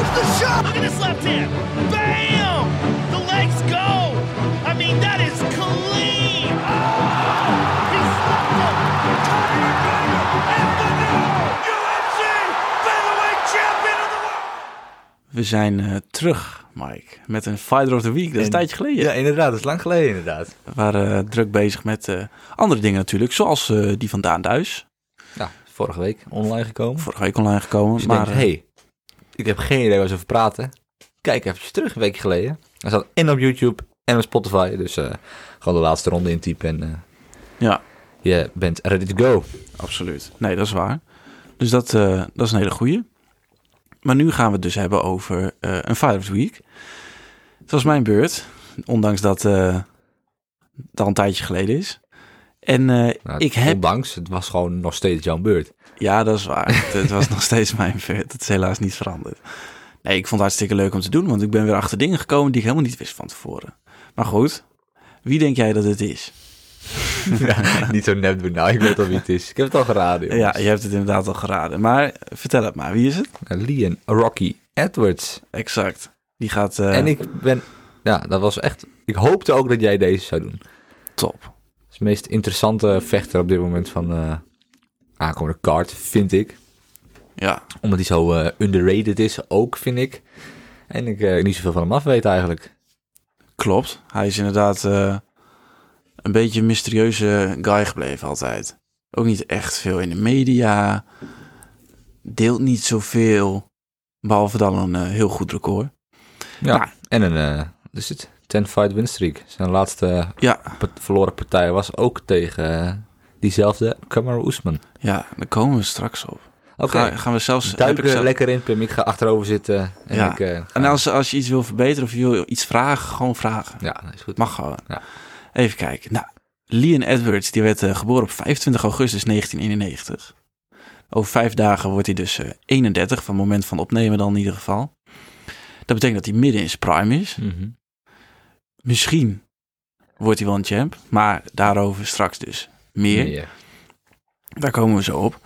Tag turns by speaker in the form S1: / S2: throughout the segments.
S1: Look at this left hand. Bam! The legs go. I mean, that is clean. Oh! He slapped him. Conor McGregor is the new UFC featherweight champion of the world.
S2: We zijn eh, terug, Mike, met een Fighter of the Week. Dat is een
S3: En-
S2: tijdje geleden.
S3: Ja, inderdaad. Dat is lang geleden, inderdaad.
S2: We waren eh, druk bezig met eh, andere dingen natuurlijk, zoals eh, die van Daan Duis.
S3: Ja, vorige week online gekomen.
S2: Vorige week online gekomen.
S3: Dus je
S2: maar eh,
S3: denkt, hé, hey, ik heb geen idee waar ze over praten. Kijk eventjes terug, een weekje geleden. Hij staat en op YouTube en op Spotify. Dus eh, gewoon de laatste ronde intypen en eh,
S2: eh, ja,
S3: je bent ready to go.
S2: absoluut. Nee, dat is waar. Dus dat, eh, dat is een hele goeie. Maar nu gaan we het dus hebben over eh, een Fighter of the Week. Het was mijn beurt, ondanks dat eh, het al een tijdje geleden is. En eh,
S3: Nou,
S2: ik heb
S3: Ondanks, het was gewoon nog steeds jouw beurt.
S2: Ja, dat is waar. het, het was nog steeds mijn vet. Het is helaas niet veranderd. Nee, ik vond het hartstikke leuk om te doen, want ik ben weer achter dingen gekomen die ik helemaal niet wist van tevoren. Maar goed, wie denk jij dat het is?
S3: Ja, niet zo nep doen, nou, ik weet al wie het is. Ik heb het al geraden, jongens.
S2: Ja, je hebt het inderdaad al geraden. Maar vertel het maar, wie is het?
S3: Leon Eh, Rocky Edwards.
S2: Exact. Die gaat eh,
S3: En ik ben... Ja, dat was echt... Ik hoopte ook dat jij deze zou doen.
S2: top.
S3: is de meest interessante vechter op dit moment van eh aankomende kaart, vind ik.
S2: Ja,
S3: Omdat hij zo eh, underrated is, ook, vind ik. En ik eh, niet zoveel van hem af weet eigenlijk.
S2: klopt. Hij is inderdaad eh, een beetje een mysterieuze guy gebleven altijd. Ook niet echt veel in de media. Deelt niet zoveel. Behalve dan een eh, heel goed record.
S3: Ja.
S2: Nou.
S3: En een, eh wat is het? 10-fight winstreak. Zijn laatste
S2: Ja,
S3: pa- verloren partij was ook tegen eh, diezelfde Kamaru Usman.
S2: Ja, daar komen we straks op.
S3: Oké,
S2: Ga- gaan we zelfs...
S3: duik
S2: heb
S3: er
S2: ik zelf-
S3: lekker in, Pim. Ik ga achterover zitten. En
S2: Ja.
S3: ik, eh, ga-
S2: En nou- als, als je iets wil verbeteren of je wil iets vragen, gewoon vragen.
S3: Ja, nou, is goed.
S2: Mag gewoon.
S3: Ja.
S2: Even kijken. Nou, Leon Edwards, die werd eh, geboren op 25 augustus 1991. Over vijf dagen wordt hij dus eh, 31, van het moment van opnemen dan in ieder geval. Dat betekent dat hij midden in zijn prime is.
S3: Mhm.
S2: Misschien wordt hij wel een champ, maar daarover straks dus meer.
S3: Ja.
S2: Daar komen we zo op.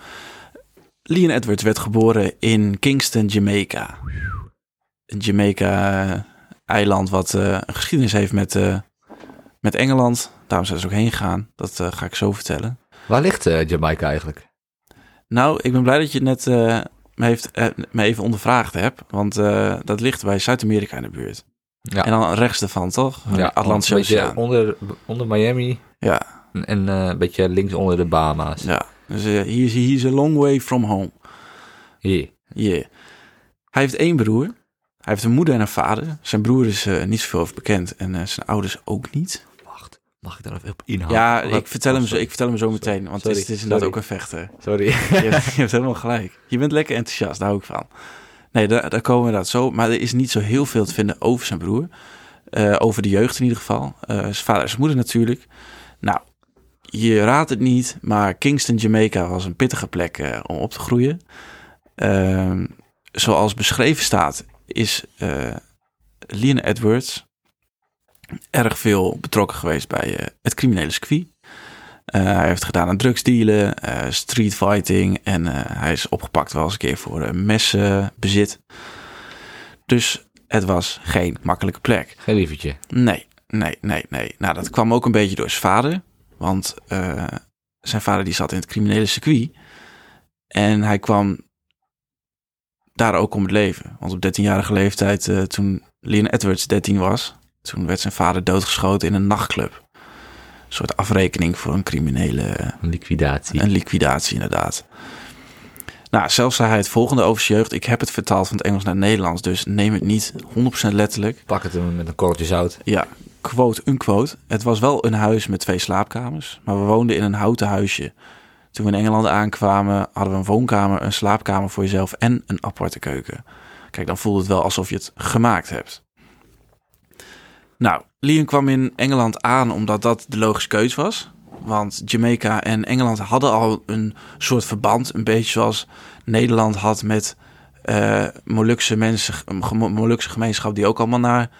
S2: Leon Edwards werd geboren in Kingston, Jamaica. Een Jamaica-eiland wat eh, een geschiedenis heeft met, eh, met Engeland. Daarom zijn ze ook heen gegaan. Dat eh, ga ik zo vertellen.
S3: Waar ligt eh, Jamaica eigenlijk?
S2: Nou, ik ben blij dat je net eh, me, heeft, eh, me even ondervraagd hebt. Want eh, dat ligt bij Zuid-Amerika in de buurt.
S3: Ja.
S2: En dan rechts daarvan, toch?
S3: Ja,
S2: Atlantische
S3: een beetje
S2: Oceaan.
S3: Onder, onder Miami
S2: Ja,
S3: en en, eh, een beetje links onder de Bahama's.
S2: ja. Dus eh, he is- he is a long way from home.
S3: Hier.
S2: Yeah. Hij heeft één broer. Hij heeft een moeder en een vader. Zijn broer is eh, niet zoveel over bekend en eh, zijn ouders ook niet.
S3: Wacht, mag ik daar even op inhalen?
S2: ja,
S3: Of
S2: ik
S3: dat-
S2: vertel,
S3: oh,
S2: hem zo,
S3: sorry.
S2: ik vertel hem zo meteen, want het is, het
S3: Sorry.
S2: is inderdaad ook
S3: Sorry.
S2: een vechter.
S3: Sorry.
S2: Je hebt, je hebt helemaal gelijk. Je bent lekker enthousiast, daar hou ik van. Nee, daar, daar komen we inderdaad zo. Maar er is niet zo heel veel te vinden over zijn broer. Eh, over de jeugd in ieder geval. Eh, zijn vader en zijn moeder natuurlijk. Nou, je raadt het niet, maar Kingston, Jamaica was een pittige plek eh, om op te groeien. Ehm, zoals beschreven staat, is eh Leon Edwards erg veel betrokken geweest bij eh, het criminele circuit. Eh, hij heeft gedaan aan drugsdealen, eh streetfighting en eh, hij is opgepakt wel eens een keer voor eh, messenbezit. Dus het was geen makkelijke plek.
S3: Geen lievertje.
S2: Nee, nee, nee, nee. Nou, dat kwam ook een beetje door zijn vader. Want eh, zijn vader die zat in het criminele circuit. En hij kwam daar ook om het leven. Want op 13-jarige leeftijd, eh, toen Leon Edwards 13 was... toen werd zijn vader doodgeschoten in een nachtclub. Een soort afrekening voor een criminele... eh,
S3: Een liquidatie.
S2: een liquidatie, inderdaad. Nou, zelfs zei hij het volgende over zijn jeugd. Ik heb het vertaald van het Engels naar het Nederlands, dus neem het niet 100% letterlijk.
S3: Pak het hem met een korreltje zout.
S2: Ja, quote, unquote. Het was wel een huis met twee slaapkamers, maar we woonden in een houten huisje. Toen we in Engeland aankwamen, hadden we een woonkamer, een slaapkamer voor jezelf en een aparte keuken. Kijk, dan voelt het wel alsof je het gemaakt hebt. Nou, Liam kwam in Engeland aan omdat dat de logische keus was. Want Jamaica en Engeland hadden al een soort verband. Een beetje zoals Nederland had met eh Molukse, mensen, ge- Molukse gemeenschap die ook allemaal naar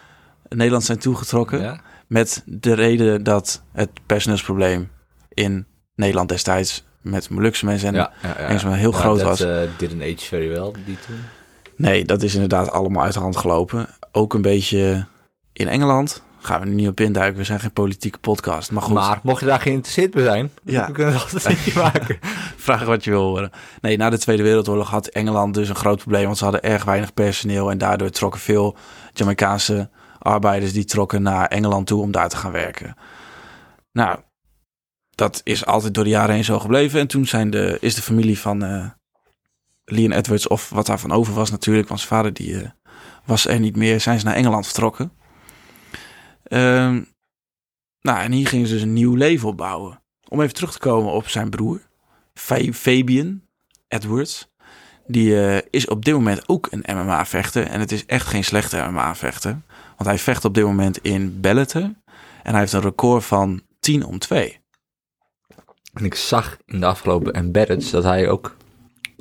S2: Nederland zijn toegetrokken.
S3: Ja?
S2: Met de reden dat het personeelsprobleem in Nederland destijds met Molukse mensen en
S3: ja,
S2: Engels maar heel groot
S3: dat,
S2: was.
S3: eh, didn't age very well, die toen.
S2: Nee, dat is inderdaad allemaal uit de hand gelopen. Ook een beetje in Engeland. Gaan we nu niet op induiken, we zijn geen politieke podcast. Maar goed,
S3: Maar mocht je daar geïnteresseerd bij zijn,
S2: Ja.
S3: we kunnen het altijd een keer maken.
S2: vraag wat je wil horen. Nee, na de Tweede Wereldoorlog had Engeland dus een groot probleem, want ze hadden erg weinig personeel. En daardoor trokken veel Jamaicaanse arbeiders die trokken naar Engeland toe om daar te gaan werken. Nou, dat is altijd door de jaren heen zo gebleven. En toen zijn de, is de familie van eh Leon Edwards, of wat daarvan over was natuurlijk, want zijn vader die, eh, was er niet meer, zijn ze naar Engeland vertrokken. Ehm, nou, en hier gingen ze dus een nieuw leven opbouwen. Om even terug te komen op zijn broer. Fa- Fabian Edwards. Die eh, is op dit moment ook een MMA-vechter. En het is echt geen slechte MMA-vechter. Want hij vecht op dit moment in Bellator. En hij heeft een record van 10 om 2.
S3: En ik zag in de afgelopen embeddeds dat hij ook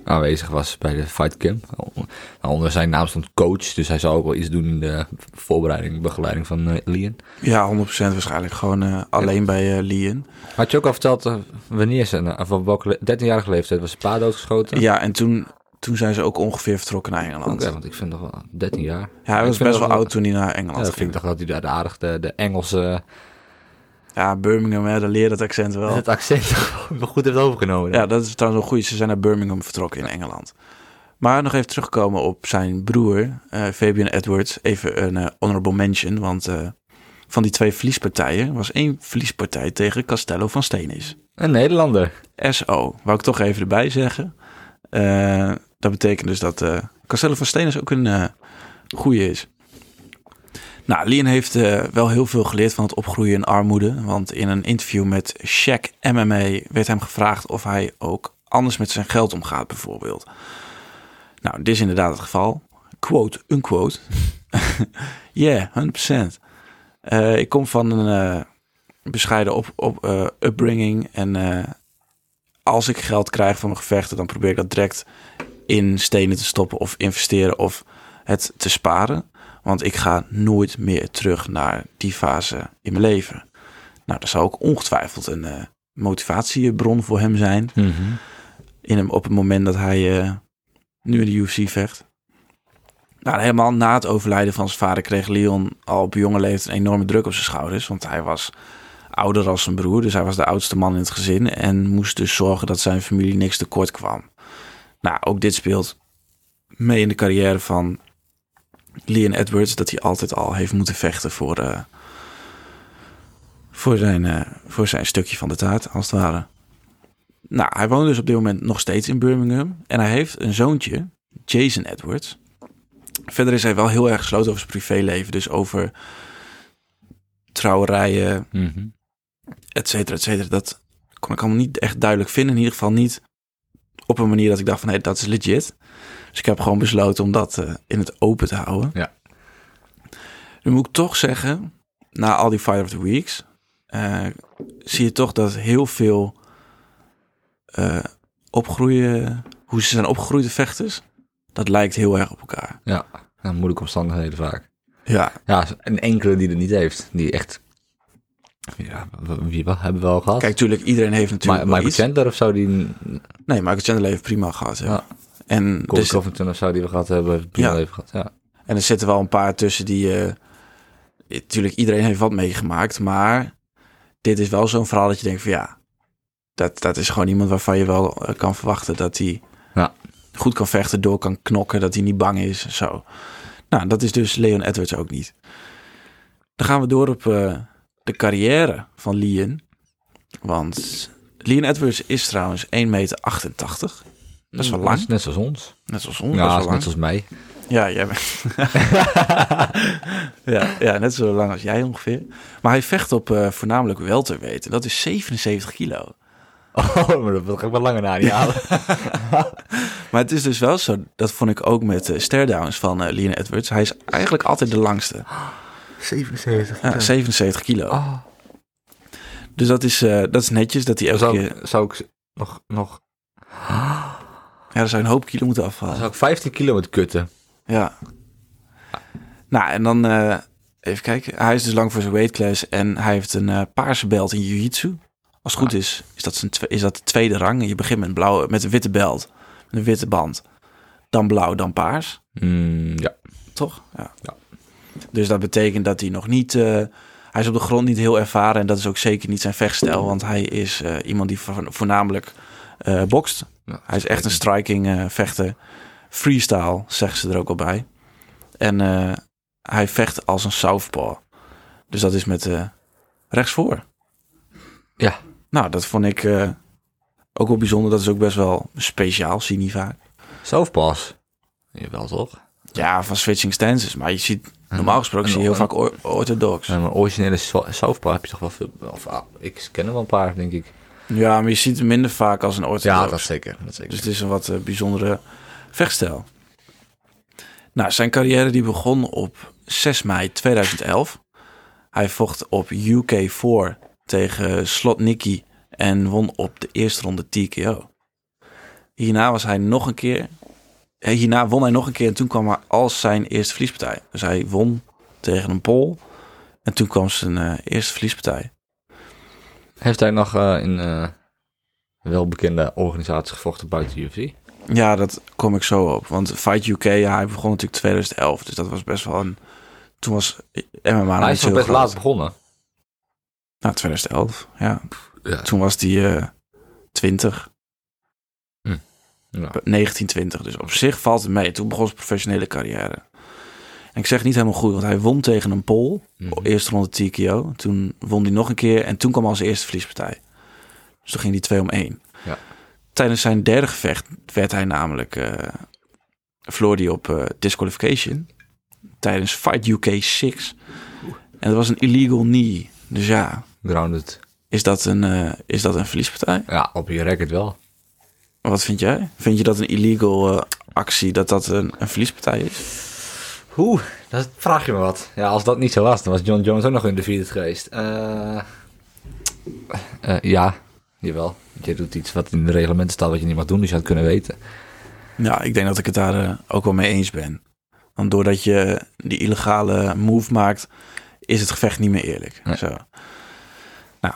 S3: aanwezig was bij de Fight Camp. Nou, onder zijn naam stond coach, dus hij zou ook wel iets doen in de voorbereiding, begeleiding van eh Lian.
S2: Ja, 100% waarschijnlijk. Gewoon eh, alleen bij eh Lien.
S3: Had je ook al verteld eh, wanneer ze, eh, of op welke le- 13-jarige leeftijd was zijn pa doodgeschoten?
S2: Ja, en toen, toen zijn ze ook ongeveer vertrokken naar Engeland.
S3: Oké, want ik vind toch wel 13 jaar.
S2: Ja, hij
S3: Ik
S2: was
S3: vind
S2: best
S3: dat
S2: wel oud toen hij naar Engeland
S3: Ja, ik
S2: ging.
S3: vind toch dat hij daar de aardig de, de Engelse
S2: Ja, Birmingham, hè, daar leer dat accent wel.
S3: het accent wel goed heeft overgenomen.
S2: Ja, dat is trouwens een goeie. Ze zijn naar Birmingham vertrokken in Engeland. Maar nog even terugkomen op zijn broer, eh, Fabian Edwards. Even een eh, honorable mention, want eh, van die twee verliespartijen was één verliespartij tegen Castello van Steenis.
S3: Een Nederlander.
S2: SO, wou ik toch even erbij zeggen. Eh, dat betekent dus dat eh, Castello van Steenis ook een eh goeie is. Nou, Lien heeft eh, wel heel veel geleerd van het opgroeien in armoede. Want in een interview met Shaq MMA werd hem gevraagd of hij ook anders met zijn geld omgaat, bijvoorbeeld. Nou, dit is inderdaad het geval. Quote, unquote. yeah, 100%. Eh, ik kom van een eh, bescheiden op, op, eh, upbringing. En eh, als ik geld krijg van mijn gevechten, dan probeer ik dat direct in stenen te stoppen of investeren of het te sparen. Want ik ga nooit meer terug naar die fase in mijn leven. Nou, dat zou ook ongetwijfeld een eh, motivatiebron voor hem zijn in hem op het moment dat hij eh, nu in de UFC vecht. Nou, helemaal na het overlijden van zijn vader kreeg Leon al op jonge leeftijd een enorme druk op zijn schouders. Want hij was ouder als zijn broer, dus hij was de oudste man in het gezin. En moest dus zorgen dat zijn familie niks tekort kwam. Nou, ook dit speelt mee in de carrière van Leon Edwards. Dat hij altijd al heeft moeten vechten voor, eh, voor, zijn, eh, voor zijn stukje van de taart, als het ware. Nou, hij woont dus op dit moment nog steeds in Birmingham. En hij heeft een zoontje, Jason Edwards. Verder is hij wel heel erg gesloten over zijn privéleven. Dus over trouwerijen, et cetera, et cetera. Dat kon ik allemaal niet echt duidelijk vinden. In ieder geval niet op een manier dat ik dacht van... hé, dat is legit. Dus ik heb gewoon besloten om dat eh, in het open te houden.
S3: Ja.
S2: Nu moet ik toch zeggen... na al die Fight of the Weeks... eh, zie je toch dat heel veel eh, opgroeien... hoe ze zijn opgegroeide vechters... dat lijkt heel erg op elkaar.
S3: Ja, Ja, moeilijke omstandigheden vaak.
S2: Ja,
S3: Ja, een enkele die het niet heeft. Die echt... Ja, w- wie wel, hebben we al gehad?
S2: kijk, tuurlijk, iedereen heeft
S3: Ma-
S2: natuurlijk wel
S3: Michael
S2: iets. Dus-
S3: Chandler of zo, die...
S2: Nee, Michael Chandler heeft prima gehad. hè.
S3: Ja.
S2: En
S3: Colby
S2: dus-
S3: Covington of zo, die we gehad hebben. heeft het prima
S2: Ja.
S3: leven gehad, ja.
S2: En er zitten wel een paar tussen die... natuurlijk, iedereen heeft wat meegemaakt. Maar dit is wel zo'n verhaal dat je denkt van ja... Dat, dat is gewoon iemand waarvan je wel eh, kan verwachten dat hij
S3: Ja.
S2: goed kan vechten, door kan knokken, dat hij niet bang is. Zo. Nou, dat is dus Leon Edwards ook niet. Dan gaan we door op eh, de carrière van Leon. Want Leon Edwards is trouwens 1,88 meter. Dat is wel lang.
S3: Net zoals ons.
S2: Net zoals ons. dat is
S3: Mhm. ja,
S2: wel
S3: is
S2: lang.
S3: net zoals mij.
S2: Ja, jij bent. ja, ja, net zo lang als jij ongeveer. Maar hij vecht op eh voornamelijk welterweight. En dat is 77 kilo.
S3: Oh, maar dat ga ik wel langer na niet halen.
S2: Maar het is dus wel zo, dat vond ik ook met de stairdowns van eh Leon Edwards. Hij is eigenlijk altijd de langste.
S3: 77.
S2: Ja, 77 kilo. Ah. Dus dat is, eh, dat is netjes dat hij elke
S3: Zou,
S2: keer...
S3: ik- zou ik nog, nog...
S2: Ja, er zou een hoop kilo moeten afvallen.
S3: Zou ik 15 kilo met kutten?
S2: Ja. Nou, en dan eh, even kijken. Hij is dus lang voor zijn weightclass en hij heeft een eh, paarse belt in jiu-jitsu. Als het goed is, is dat, zijn twe- is dat de tweede rang. En je begint met een, blauwe, met een witte belt, met een witte band. Dan blauw, dan paars.
S3: Mm, ja.
S2: Toch? Ja.
S3: Ja.
S2: Dus dat betekent dat hij nog niet... eh, hij is op de grond niet heel ervaren en dat is ook zeker niet zijn vechtstijl. Want hij is eh, iemand die vo- voornamelijk eh bokst.
S3: Ja.
S2: Hij is echt een striking eh, vechter. Freestyle, zeggen ze er ook al bij. En eh, hij vecht als een southpaw. Dus dat is met eh rechtsvoor.
S3: Ja.
S2: Nou, dat vond ik eh, ook wel bijzonder. Dat is ook best wel speciaal, zie je niet vaak.
S3: Zelfpas. Jawel toch?
S2: Ja, van switching stances. Maar je ziet, normaal gesproken
S3: En-
S2: zie je heel
S3: en-
S2: vaak or- orthodox.
S3: En een originele zo- Southpaw heb je toch wel veel... Of, ah, ik ken er wel een paar, denk ik.
S2: Ja, maar je ziet het minder vaak als een orthodox.
S3: zeker. Dat zeker.
S2: Dus het is een wat eh, bijzondere vechtstijl. Nou, zijn carrière die begon op 6 mei 2011. Hij vocht op UK4 tegen Slotnicki en won op de eerste ronde TKO. Hierna was hij nog een keer... eh, Hierna won hij nog een keer en toen kwam hij als zijn eerste verliespartij. Dus hij won tegen een Pool en toen kwam zijn eh, eerste verliespartij.
S3: Heeft hij nog eh, in eh, welbekende organisaties gevochten buiten de UFC?
S2: Ja, dat kom ik zo op. Want Fight UK, ja, hij begon natuurlijk 2011. Dus dat was best wel een... Toen was MMA nog
S3: hij
S2: niet
S3: is
S2: zo heel
S3: toch best
S2: groot.
S3: laat begonnen?
S2: Nou, 2011, ja.
S3: Ja.
S2: Toen was hij eh, 20,
S3: Hm. Ja.
S2: 1920. Dus op zich valt het mee. Toen begon zijn professionele carrière. En ik zeg niet helemaal goed, want hij won tegen een Pool.
S3: Mhm.
S2: Eerst ronde TKO. Toen won hij nog een keer. En toen kwam als eerste verliespartij. Dus toen ging hij 2 om 1.
S3: Ja.
S2: Tijdens zijn derde gevecht werd hij namelijk... eh verloor hij op eh, disqualification. Tijdens Fight UK 6. En dat was een illegal knee. Dus ja,
S3: Grounded.
S2: is dat een, eh, is dat een verliespartij?
S3: Ja, op je record wel.
S2: Wat vind jij? Vind je dat een illegal eh, actie, dat dat een, een verliespartij is?
S3: Oeh, dat vraag je me wat. Ja, als dat niet zo was, dan was John Jones ook nog in de vierde geweest. Eh, eh, ja, jawel. Je doet iets wat in de reglementen staat wat je niet mag doen, dus je had het kunnen weten.
S2: Ja, ik denk dat ik het daar eh, ook wel mee eens ben. Want doordat je die illegale move maakt, is het gevecht niet meer eerlijk.
S3: Nee.
S2: Zo. Nou,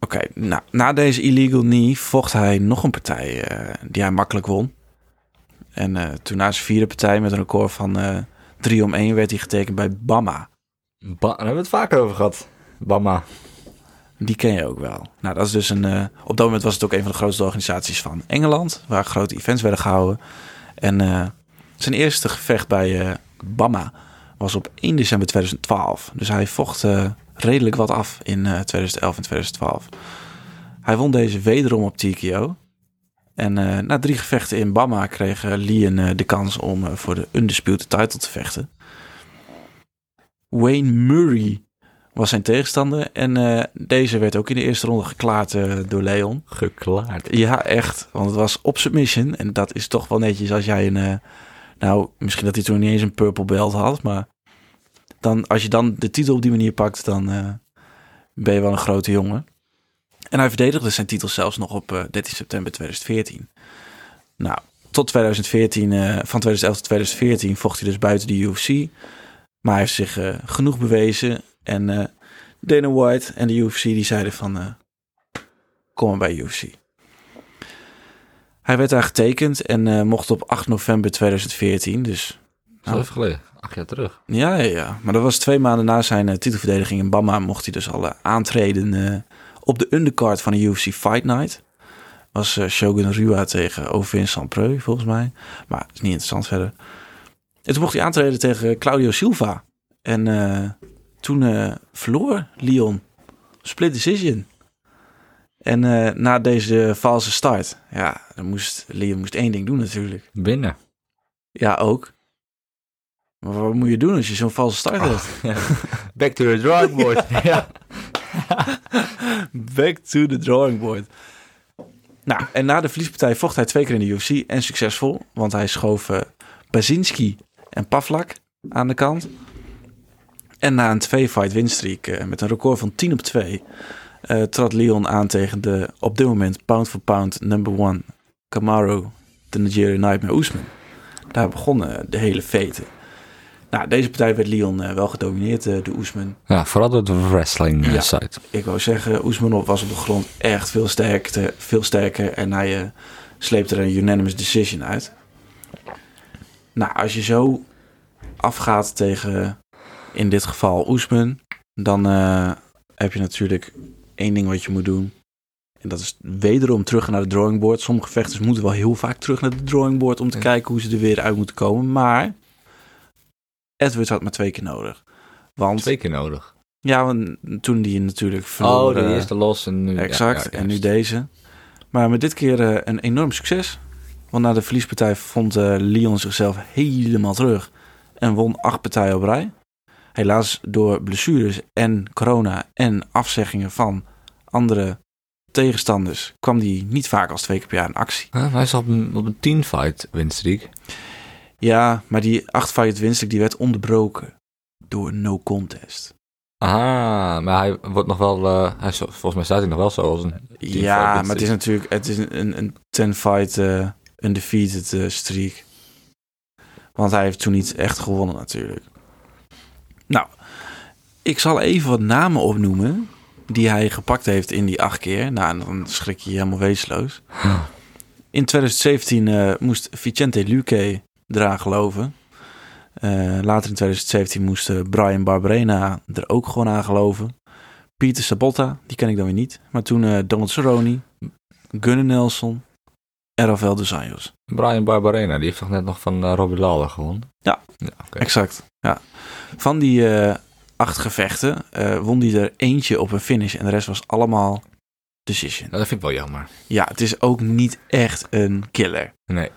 S2: oké. Nou, na deze illegal knee vocht hij nog een partij eh, die hij makkelijk won. En eh, toen na zijn vierde partij met een record van eh 3 om 1 werd hij getekend bij Bama.
S3: Ba daar hebben we het vaker over gehad. Bama.
S2: Die ken je ook wel. Nou, dat is dus een. eh, op dat moment was het ook een van de grootste organisaties van Engeland, waar grote events werden gehouden. En eh, zijn eerste gevecht bij eh, Bama was op 1 december 2012. Dus hij vocht eh, redelijk wat af in eh, 2011 en 2012. Hij won deze wederom op TKO. En eh, na drie gevechten in Bama kreeg eh, Lee een, eh, de kans om eh, voor de undisputed title te vechten. Wayne Murray was zijn tegenstander. En eh, deze werd ook in de eerste ronde geklaard eh, door Leon.
S3: Geklaard.
S2: Ja, echt. Want het was op submission. En dat is toch wel netjes als jij een... eh, nou, misschien dat hij toen niet eens een purple belt had. Maar dan, als je dan de titel op die manier pakt, dan eh, ben je wel een grote jongen. En hij verdedigde zijn titel zelfs nog op eh, 13 september 2014. Nou, tot 2014, eh, van 2011 tot 2014 vocht hij dus buiten de UFC. Maar hij heeft zich eh, genoeg bewezen. En eh, Dana White en de UFC die zeiden van... eh, kom maar bij UFC. Hij werd daar getekend en eh, mocht op 8 november 2014, dus
S3: Zo even geleden. Acht jaar terug.
S2: ja, ja, ja. Maar dat was twee maanden na zijn eh, titelverdediging in Bama. Mocht hij dus al eh, aantreden eh, op de undercard van de UFC Fight Night. Was eh, Shogun Rua tegen Ovin Sampreu, volgens mij. Maar het is niet interessant verder. En toen mocht hij aantreden tegen Claudio Silva. En eh, toen eh, verloor Lyon. Split decision. En eh, na deze valse start, ja, dan moest Lyon moest één ding doen natuurlijk.
S3: Binnen.
S2: Ja, ook. Maar wat moet je doen als je zo'n valse start hebt?
S3: Back to the drawing board. ja.
S2: Back to the drawing board. Nou, en na de verliespartij vocht hij twee keer in de UFC en succesvol, want hij schoof eh Basinski en Pavlak aan de kant. En na een twee-fight winstreak eh, met een record van 10 op 2 eh, trad Leon aan tegen de op dit moment pound for pound number one Camaro, de Nigerian Nightmare Oesman. Daar begon eh, de hele vete. Nou, deze partij werd Leon eh, wel gedomineerd, eh door Oesman.
S3: Ja, vooral door de wrestling eh,
S2: Ja.
S3: site.
S2: Ik wou zeggen, Oesmanov was op de grond echt veel sterker, veel sterker en hij eh, sleepte er een unanimous decision uit. Nou, als je zo afgaat tegen, in dit geval, Oesman, dan eh, heb je natuurlijk één ding wat je moet doen. En dat is wederom terug naar de drawing board. Sommige vechters moeten wel heel vaak terug naar de drawing board om te
S3: Ja.
S2: kijken hoe ze er weer uit moeten komen. Maar Edwards had maar twee keer nodig. Want,
S3: Twee keer nodig.
S2: ja, want toen die natuurlijk
S3: Oh,
S2: verloor,
S3: de
S2: eh,
S3: eerste los en nu... ja,
S2: Exact,
S3: ja,
S2: en nu
S3: juist.
S2: deze. Maar met dit keer eh, een enorm succes. Want na de verliespartij vond eh Lyon zichzelf helemaal terug. En won acht partijen op rij. Helaas door blessures en corona en afzeggingen van andere tegenstanders... kwam hij niet vaak als twee keer per jaar in actie.
S3: Huh, maar hij is op een, op een teamfight winstreek.
S2: Ja, maar die acht fight winstelijk die werd onderbroken door no contest.
S3: Aha, maar hij wordt nog wel... eh, hij is, volgens mij staat hij nog wel zo als een teamfight
S2: ja, maar het
S3: winstreak.
S2: is natuurlijk het is een, een ten fight eh undefeated eh, streak. Want hij heeft toen niet echt gewonnen natuurlijk. Nou, ik zal even wat namen opnoemen die hij gepakt heeft in die acht keer. Nou, en dan schrik je je helemaal weesloos. In 2017 eh, moest Vicente Luque eraan geloven. Eh, later in 2017 moest eh, Brian Barberena er ook gewoon aan geloven. Pieter Sabotta, die ken ik dan weer niet. Maar toen eh, Donald Cerrone, Gunnar Nelson en Rafael dos Anjos.
S3: Brian Barbarena, die heeft toch net nog van eh, Robbie Lawler gewonnen?
S2: Ja.
S3: oké.
S2: Exact, ja. Van die eh, acht gevechten eh, won hij er eentje op een finish en de rest was allemaal decision.
S3: Nou, dat vind ik wel jammer.
S2: Ja, het is ook niet echt een killer.
S3: Nee.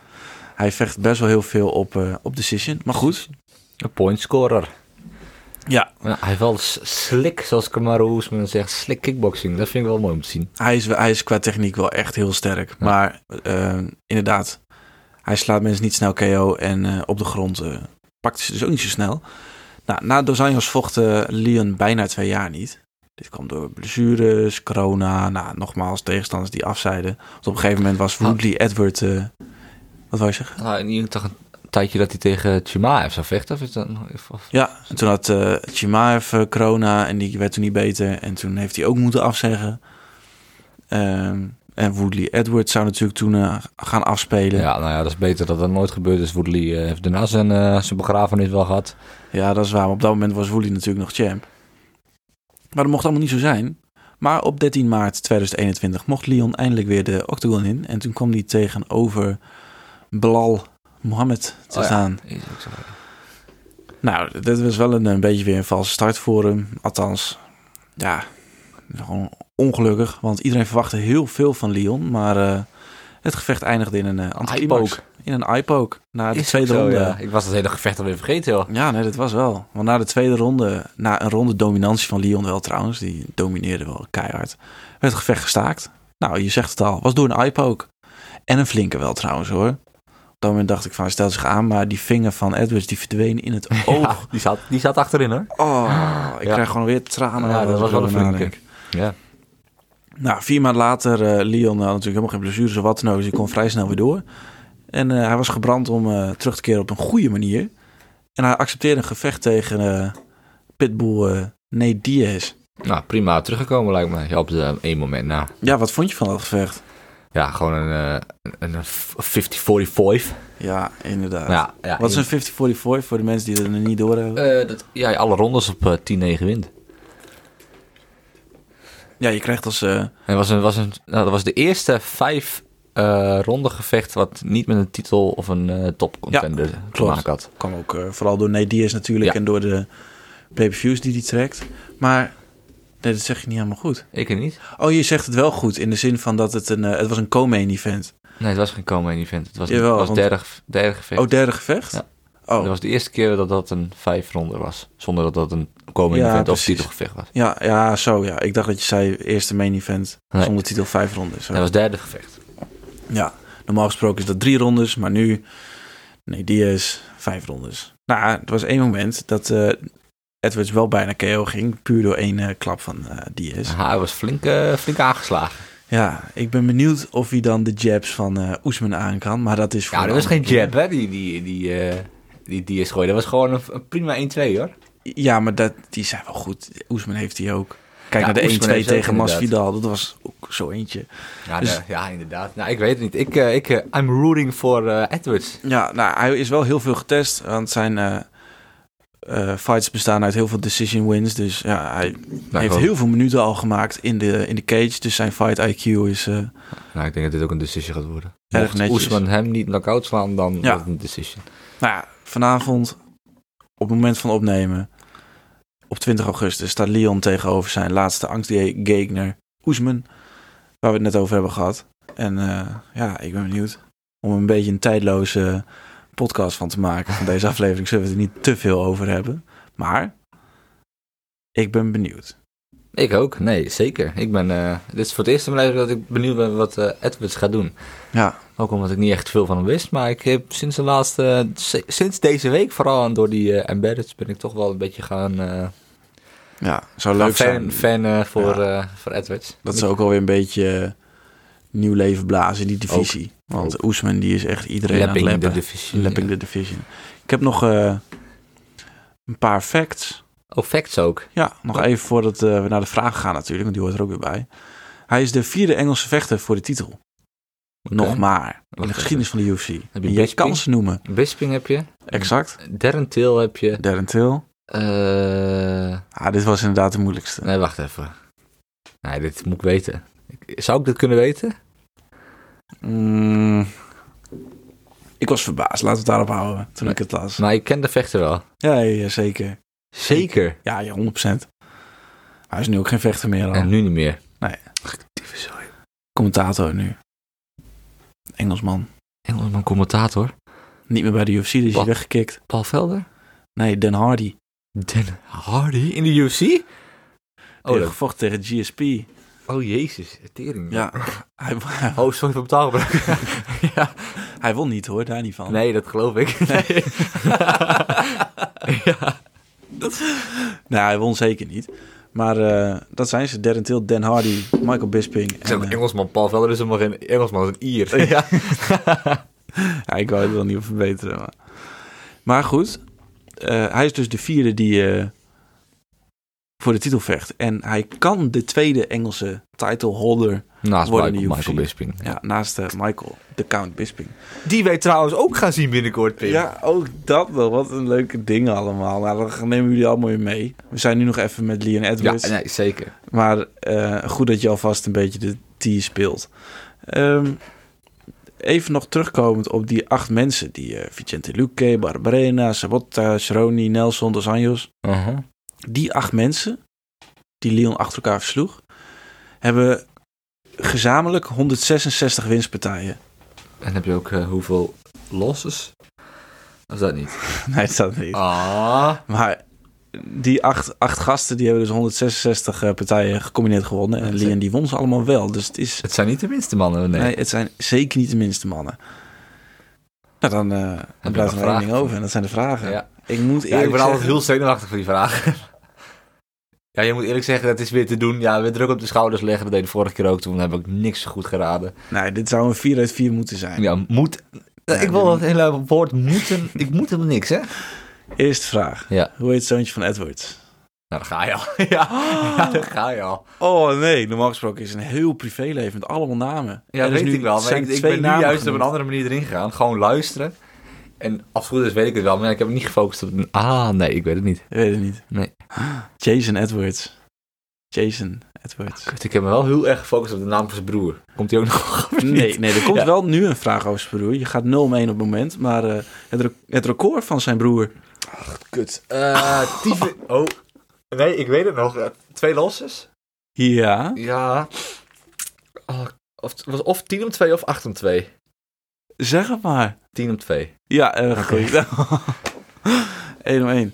S2: Hij vecht best wel heel veel op, eh, op decision, maar goed.
S3: Een pointscorer.
S2: Ja,
S3: Ja, hij heeft wel s- slick, zoals Kamaru Oesman zegt, slick kickboxing. Dat vind ik wel mooi om te zien.
S2: hij is, hij is qua techniek wel echt heel sterk. Maar eh, inderdaad, hij slaat mensen niet snel KO en eh, op de grond eh, pakt ze dus ook niet zo snel. Nou, na Dos Anjos vocht eh, Leon bijna twee jaar niet. Dit kwam door blessures, corona, nou, nogmaals tegenstanders die afzeiden. Want op een gegeven moment was Woodley Edward... eh, wat wou je zeggen?
S3: Nou, in ieder geval een tijdje dat hij tegen Chimaev zou vechten. Of is dat nog even... of-
S2: Ja, en toen had eh Chimaev eh, corona en die werd toen niet beter. En toen heeft hij ook moeten afzeggen. Ehm, en Woodley Edwards zou natuurlijk toen eh, gaan afspelen. Ja.
S3: Ja, nou ja, dat is beter dat dat nooit gebeurd is. Woodley eh, heeft daarna zijn, eh, zijn begrafenis wel gehad.
S2: dat is waar. Maar op dat moment was Woodley natuurlijk nog champ. Maar dat mocht allemaal niet zo zijn. Maar op 13 maart 2021 mocht Leon eindelijk weer de octagon in. En toen kwam hij tegenover Belal Mohammed te
S3: Oh ja.
S2: staan.
S3: Is ook zo.
S2: Nou, dit was wel een, een beetje weer een valse start voor hem. Althans, ja, gewoon ongelukkig. Want iedereen verwachtte heel veel van Lyon. Maar eh, het gevecht eindigde in een eh anticlimax.
S3: Eye-poke.
S2: In een eye-poke. Na de
S3: Is
S2: tweede
S3: ook zo,
S2: ronde.
S3: ja.
S2: Ja.
S3: Ik was dat hele gevecht alweer vergeten, joh.
S2: nee, dat was wel. Want na de tweede ronde, na een ronde dominantie van Lyon wel trouwens. Die domineerde wel keihard. Werd het gevecht gestaakt. Nou, je zegt het al. Was door een eye-poke. En een flinke wel trouwens hoor. Op dat moment dacht ik van, hij stelt zich aan. Maar die vinger van Edwards, die verdween in het oog.
S3: Ja, die, zat, die zat achterin, hoor.
S2: Oh, ik
S3: Ja.
S2: krijg gewoon weer tranen.
S3: Ja,
S2: als
S3: dat
S2: ik
S3: was wel een
S2: erover
S3: flinke.
S2: nadenk.
S3: Ja.
S2: Nou, vier maanden later, eh Leon had natuurlijk helemaal geen blessures of wat dan ook. Dus hij kon vrij snel weer door. En eh, hij was gebrand om eh, terug te keren op een goede manier. En hij accepteerde een gevecht tegen eh, Pitbull eh Nate Diaz.
S3: Nou, prima teruggekomen lijkt me. Ja, op de, één moment na.
S2: Ja, wat vond je van dat gevecht?
S3: Ja, gewoon een, eh, een, een 50-45.
S2: Ja, inderdaad.
S3: Ja, ja,
S2: wat is een 50-44 voor de mensen die er niet door hebben?
S3: Eh, dat, ja, alle rondes op eh 10-9 wint.
S2: ja, je krijgt als... eh,
S3: En was een, was een, nou, dat was de eerste vijf eh ronde gevecht wat niet met een titel of een eh, topcontender te
S2: klopt.
S3: maken had.
S2: kwam ook eh, vooral door Nate Diaz natuurlijk
S3: Ja.
S2: en door de pay-per-views die hij trekt. Maar nee, dat zeg je niet helemaal goed.
S3: Ik het niet.
S2: Oh, je zegt het wel goed in de zin van dat het een, eh, het was een co-main event.
S3: Nee, het was geen komen event. Het was,
S2: Jawel,
S3: het was
S2: want-
S3: derde, ge- derde gevecht.
S2: Oh, derde gevecht?
S3: Ja.
S2: Oh,
S3: Dat was de eerste keer dat dat een vijf ronde was. Zonder dat dat een komen
S2: Ja,
S3: event
S2: precies.
S3: of titelgevecht was.
S2: ja, ja, zo ja. Ik dacht dat je zei eerste main event
S3: Nee.
S2: zonder titel vijf rondes. Zo.
S3: Dat was derde gevecht.
S2: Ja, normaal gesproken is dat drie rondes, maar nu, nee, die is vijf rondes. Nou, het was één moment dat eh, Edwards wel bijna KO ging, puur door één eh, klap van eh Diaz.
S3: Aha, hij was flink, eh, flink aangeslagen.
S2: Ja, ik ben benieuwd of hij dan de jabs van eh Oesman aan kan, maar dat is voor
S3: Ja, dat
S2: een
S3: was geen
S2: andere keer.
S3: jab, hè? Die, die, die, eh, die, die is gooien. Dat was gewoon een, een prima 1-2, hoor.
S2: Ja, maar dat, die zijn wel goed. Oesman heeft die ook. Kijk
S3: Ja,
S2: naar de 1-2
S3: Oesman heeft ook
S2: tegen
S3: inderdaad.
S2: Masvidal. Dat was ook zo eentje.
S3: Ja,
S2: Dus-
S3: de- ja, inderdaad. Nou, ik weet het niet. Ik, eh, ik, eh, I'm rooting voor eh, Edwards.
S2: Ja, nou, hij is wel heel veel getest. Want zijn eh, eh, fights bestaan uit heel veel decision wins. Dus ja, hij
S3: Nou,
S2: heeft
S3: gewoon-
S2: heel veel minuten al gemaakt in de, in de cage. Dus zijn fight IQ is... eh,
S3: Nou, ik denk dat dit ook een decision gaat worden.
S2: Erg
S3: Mocht
S2: netjes.
S3: Oesman hem niet knock-out slaan, dan
S2: Ja.
S3: wordt het een decision.
S2: nou ja, vanavond, op het moment van opnemen... Op 20 augustus staat Leon tegenover zijn laatste angstgegner, Oesman. Waar we het net over hebben gehad. En eh, ja, ik ben benieuwd om een beetje een tijdloze podcast van te maken. Van deze aflevering zullen we het er niet te veel over hebben. Maar ik ben benieuwd.
S3: Ik ook. Nee, zeker. Ik ben, eh, dit is voor het eerst in mijn leven dat ik benieuwd ben wat eh, Edwards gaat doen.
S2: Ja,
S3: Ook omdat ik niet echt veel van hem wist. Maar ik heb sinds de laatste. si- Sinds deze week, vooral en door die eh, embedded, ben ik toch wel een beetje gaan. eh,
S2: ja zou
S3: gaan
S2: leuk
S3: fan,
S2: zijn
S3: fan eh, voor,
S2: Ja.
S3: eh, voor Edwards.
S2: dat ze ook alweer een beetje eh, nieuw leven blazen in die divisie. Want
S3: Ook.
S2: Oesman die is echt iedereen
S3: Lapping
S2: aan het
S3: de
S2: leppen.
S3: divisie.
S2: Lapping the division. Ik heb nog eh, een paar facts.
S3: Oh, facts ook.
S2: Ja, nog even voordat eh, we naar de vraag gaan natuurlijk, want die hoort er ook weer bij. Hij is de vierde Engelse vechter voor de titel. Nog
S3: Oké.
S2: maar. In
S3: Wacht
S2: de geschiedenis van de UFC. En jij
S3: Bisping?
S2: kan ze noemen.
S3: Bisping heb je.
S2: Exact.
S3: Darren Till heb je.
S2: Darren Till.
S3: Eh,
S2: Ah, dit was inderdaad de moeilijkste.
S3: nee, wacht even. Nee, dit moet ik weten. Ik- Zou ik dit kunnen weten?
S2: Mm. ik was verbaasd. Laten we het daarop houden. Toen ik het las.
S3: Maar Nou, ik ken de vechter wel.
S2: Ja, ja, ja, zeker.
S3: Zeker.
S2: Ja, ja, 100%. Maar Hij is nu ook geen vechter meer al.
S3: En nu niet meer.
S2: Nee.
S3: Dieve zooi.
S2: Commentator nu. Engelsman.
S3: Engelsman commentator.
S2: Niet meer bij de UFC, dus is hij
S3: Wat?
S2: weggekikt.
S3: Paul Velder.
S2: Nee, Dan Hardy.
S3: Dan Hardy in de UFC?
S2: Oh,
S3: Oh,
S2: heeft
S3: dat-
S2: gevochten tegen GSP.
S3: oh jezus, tering.
S2: Ja. hij,
S3: Oh, sorry voor betaalgebruik. ja.
S2: hij won niet hoor, daar niet van.
S3: Nee, dat geloof ik. Nee. ja.
S2: Nou, hij won zeker niet. Maar eh, dat zijn ze. Darren Till, Dan Hardy, Michael Bisping.
S3: Ik zeg
S2: en, eh,
S3: Engelsman, Paul Velder is helemaal geen Engelsman, dat is een Ier.
S2: Ja. ja, ik wou het wel niet op verbeteren. Maar, maar goed, eh, hij is dus de vierde die eh, voor de titel vecht. En hij kan de tweede Engelse titleholder
S3: Naast
S2: Worden
S3: Michael,
S2: die UFC.
S3: Michael Bisping.
S2: ja, naast eh, Michael, de Count Bisping.
S3: Die wij trouwens ook gaan zien binnenkort, Pim.
S2: Ja, ook dat nog. Wat een leuke dingen allemaal. Nou, dan nemen we jullie allemaal weer mee. We zijn nu nog even met Leon
S3: Ja,
S2: Edwards.
S3: nee, zeker.
S2: Maar eh, goed dat je alvast een beetje de tier speelt. Ehm, even nog terugkomend op die acht mensen. Die eh, Vicente Luque, Barbarena, Sabotta, Sroni, Nelson, Dos Anjos.
S3: Uh-huh.
S2: Die acht mensen, die Leon achter elkaar versloeg, hebben gezamenlijk 166 winstpartijen.
S3: En heb je ook eh, hoeveel losses? Of dat niet?
S2: Nee, dat niet.
S3: Ah.
S2: Maar die acht, acht gasten, die hebben dus 166 eh, partijen gecombineerd gewonnen. En
S3: Dat
S2: Leon
S3: zijn-
S2: die won ze allemaal wel. Dus het is
S3: Het zijn niet de minste mannen, nee.
S2: Nee. het zijn zeker niet de minste mannen. Nou, dan, eh, dan
S3: nog
S2: blijft er maar één
S3: vragen?
S2: ding over. En dat zijn de vragen.
S3: Ja.
S2: Ik moet
S3: Ja,
S2: eerlijk
S3: ik ben altijd
S2: zeggen...
S3: heel zenuwachtig voor die vragen. ja, je moet eerlijk zeggen, dat is weer te doen. Ja, weer druk op de schouders leggen. Dat deed de vorige keer ook. Toen heb ik niks goed geraden.
S2: Nee, dit zou een 4 uit 4 moeten zijn.
S3: Ja, moet... ik wil dat hele woord moeten... ik moet helemaal niks, hè? Nou,
S2: Eerste vraag.
S3: Ja.
S2: Hoe heet het zoontje van Edwards?
S3: Nou, daar ga je al. ja. ja, daar ga je al.
S2: Oh nee, normaal gesproken is het een heel privéleven met allemaal namen.
S3: Ja,
S2: Er is
S3: weet
S2: nu-
S3: ik wel. Maar
S2: zijn
S3: ik, ik
S2: twee
S3: ben dus nu
S2: namen
S3: juist op
S2: genoemd.
S3: een andere manier erin gegaan. Gewoon luisteren. En als het goed is, weet ik het wel. Maar ik heb me niet gefocust op... een- Ah, nee, ik weet het niet.
S2: Ik weet het niet.
S3: Nee.
S2: Jason Edwards. Jason Edwards.
S3: Kut, ik heb me wel heel erg gefocust op de naam van zijn broer. Komt hij ook nog? of niet?
S2: Nee, nee, er komt
S3: Ja.
S2: wel nu een vraag over zijn broer. Je gaat 0-1 op het moment, maar eh, het, rec- het record van zijn broer
S3: Kut. Eh tyfe... Oh. Nee, ik weet het nog. Eh, Twee losses?
S2: Ja.
S3: Ja. Oh, of, het was of 10 om 2 of 8 om 2.
S2: Zeg het maar.
S3: 10 om 2.
S2: Ja, erg goed. 1 om 1.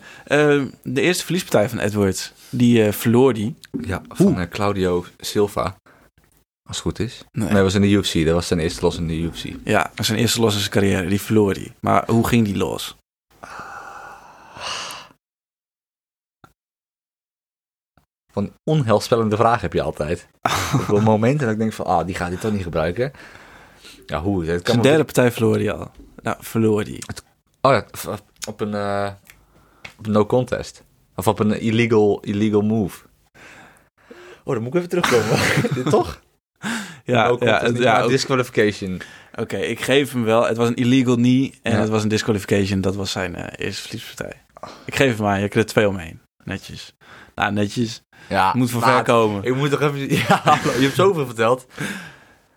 S2: de eerste verliespartij van Edwards, die eh, verloor die.
S3: Ja, eh,
S2: van,
S3: Claudio Silva. Als het goed is.
S2: Nee.
S3: Nee, dat was in de UFC. Dat was zijn eerste los in de UFC.
S2: Ja, zijn eerste los in zijn carrière, die verloor die. Maar hoe ging die los?
S3: Van onheilspellende vraag heb je altijd. Op wel momenten dat ik denk van, ah, die gaat hij toch niet gebruiken. Ja, hoe? Dat kan
S2: Zijn
S3: wel-
S2: derde partij verloor die al. Nou, verloor die.
S3: Oh ja, v- op een, eh, op een no contest. Of op een illegal, illegal move. Oh, dan moet ik even terugkomen. Toch?
S2: Ja,
S3: Ook
S2: ja,
S3: komt het
S2: het-
S3: niet
S2: ja,
S3: uit
S2: ook-
S3: disqualification.
S2: oké, ik geef hem wel. Het was een illegal knee en
S3: Ja.
S2: het was een disqualification. Dat was zijn eh, eerste verliespartij. Ik geef hem aan, je kreeg er twee omheen. Netjes. Nou, netjes.
S3: Ja,
S2: Moet van ver
S3: maar-
S2: komen.
S3: Ik moet toch even... Ja, hallo, je hebt zoveel verteld.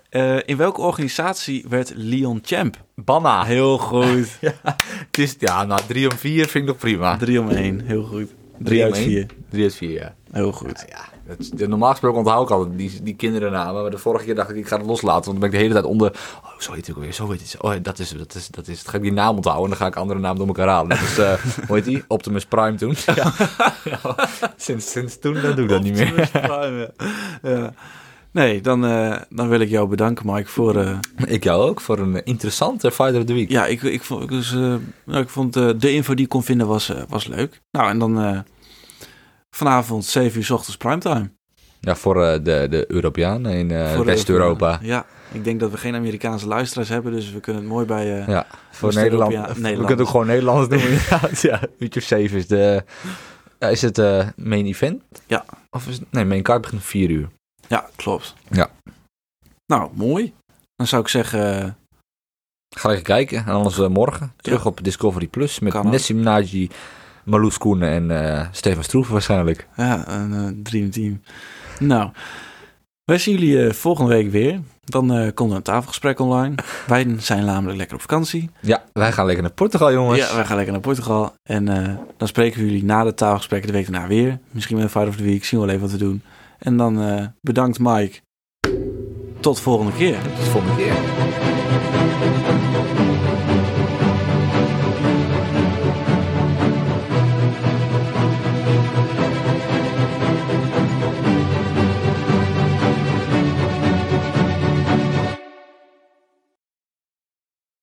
S2: Eh, in welke organisatie werd Leon Champ?
S3: Banna.
S2: Heel goed.
S3: Het is, ja, nou, 3 om 4 vind ik nog prima.
S2: Drie om één, heel goed.
S3: Drie
S2: Drie
S3: om
S2: uit
S3: één?
S2: vier,
S3: 3 uit 4, ja.
S2: heel goed.
S3: Ja, dat is- de- normaal gesproken onthoud ik altijd die, die kinderennamen. Maar de vorige keer dacht ik, ik ga het loslaten. Want dan ben ik de hele tijd onder... Oh, zo heet het ook weer. Zo heet het. Oh, dat is, dat is, dat is. Dan ga ik die naam onthouden en dan ga ik andere namen door elkaar halen. Dus, eh hoe heet die? Optimus Prime toen. Ja. sinds, sinds toen dan doe ik dat niet meer.
S2: Ja. Nee, dan, eh, dan wil ik jou bedanken, Mike, voor... eh,
S3: Ik jou ook voor een interessante Fighter of the Week.
S2: ja, ik, ik vond, ik was, eh, nou, ik vond eh, de info die ik kon vinden was, eh, was leuk. Nou, en dan eh, vanavond 7 uur 's ochtends primetime.
S3: Ja, voor eh, de, de Europeanen in eh,
S2: Voor de-
S3: West-Europa.
S2: Ja, ik denk dat we geen Amerikaanse luisteraars hebben, dus we kunnen het mooi bij... eh,
S3: Ja, voor
S2: West-Europa,
S3: Nederland.
S2: ja,
S3: We
S2: Nederlanders.
S3: kunnen het ook gewoon Nederlands noemen. inderdaad, ja, uurtje of zeven is de... ja, is het eh, main event?
S2: Ja.
S3: Of is het- nee, main card begint om vier uur.
S2: ja, klopt.
S3: Ja.
S2: Nou, mooi. Dan zou ik zeggen... eh,
S3: Ga even kijken. En anders eh, morgen terug
S2: Ja.
S3: op Discovery Plus met
S2: Kan ook.
S3: Nessim Naji, Marloes Koenen en eh, Stefan Stroeven waarschijnlijk.
S2: Ja, een eh, dream team. Nou, wij zien jullie eh, volgende week weer. Dan eh, komt er een tafelgesprek online. Wij zijn namelijk lekker op vakantie.
S3: Ja, wij gaan lekker naar Portugal, jongens.
S2: Ja, wij gaan lekker naar Portugal. En eh, dan spreken we jullie na de tafelgesprek de week daarna weer. Misschien met een Fight of the Week. Zien we wel even wat te doen. En dan eh, bedankt Mike. Tot volgende keer.
S3: Tot volgende keer.
S1: Thank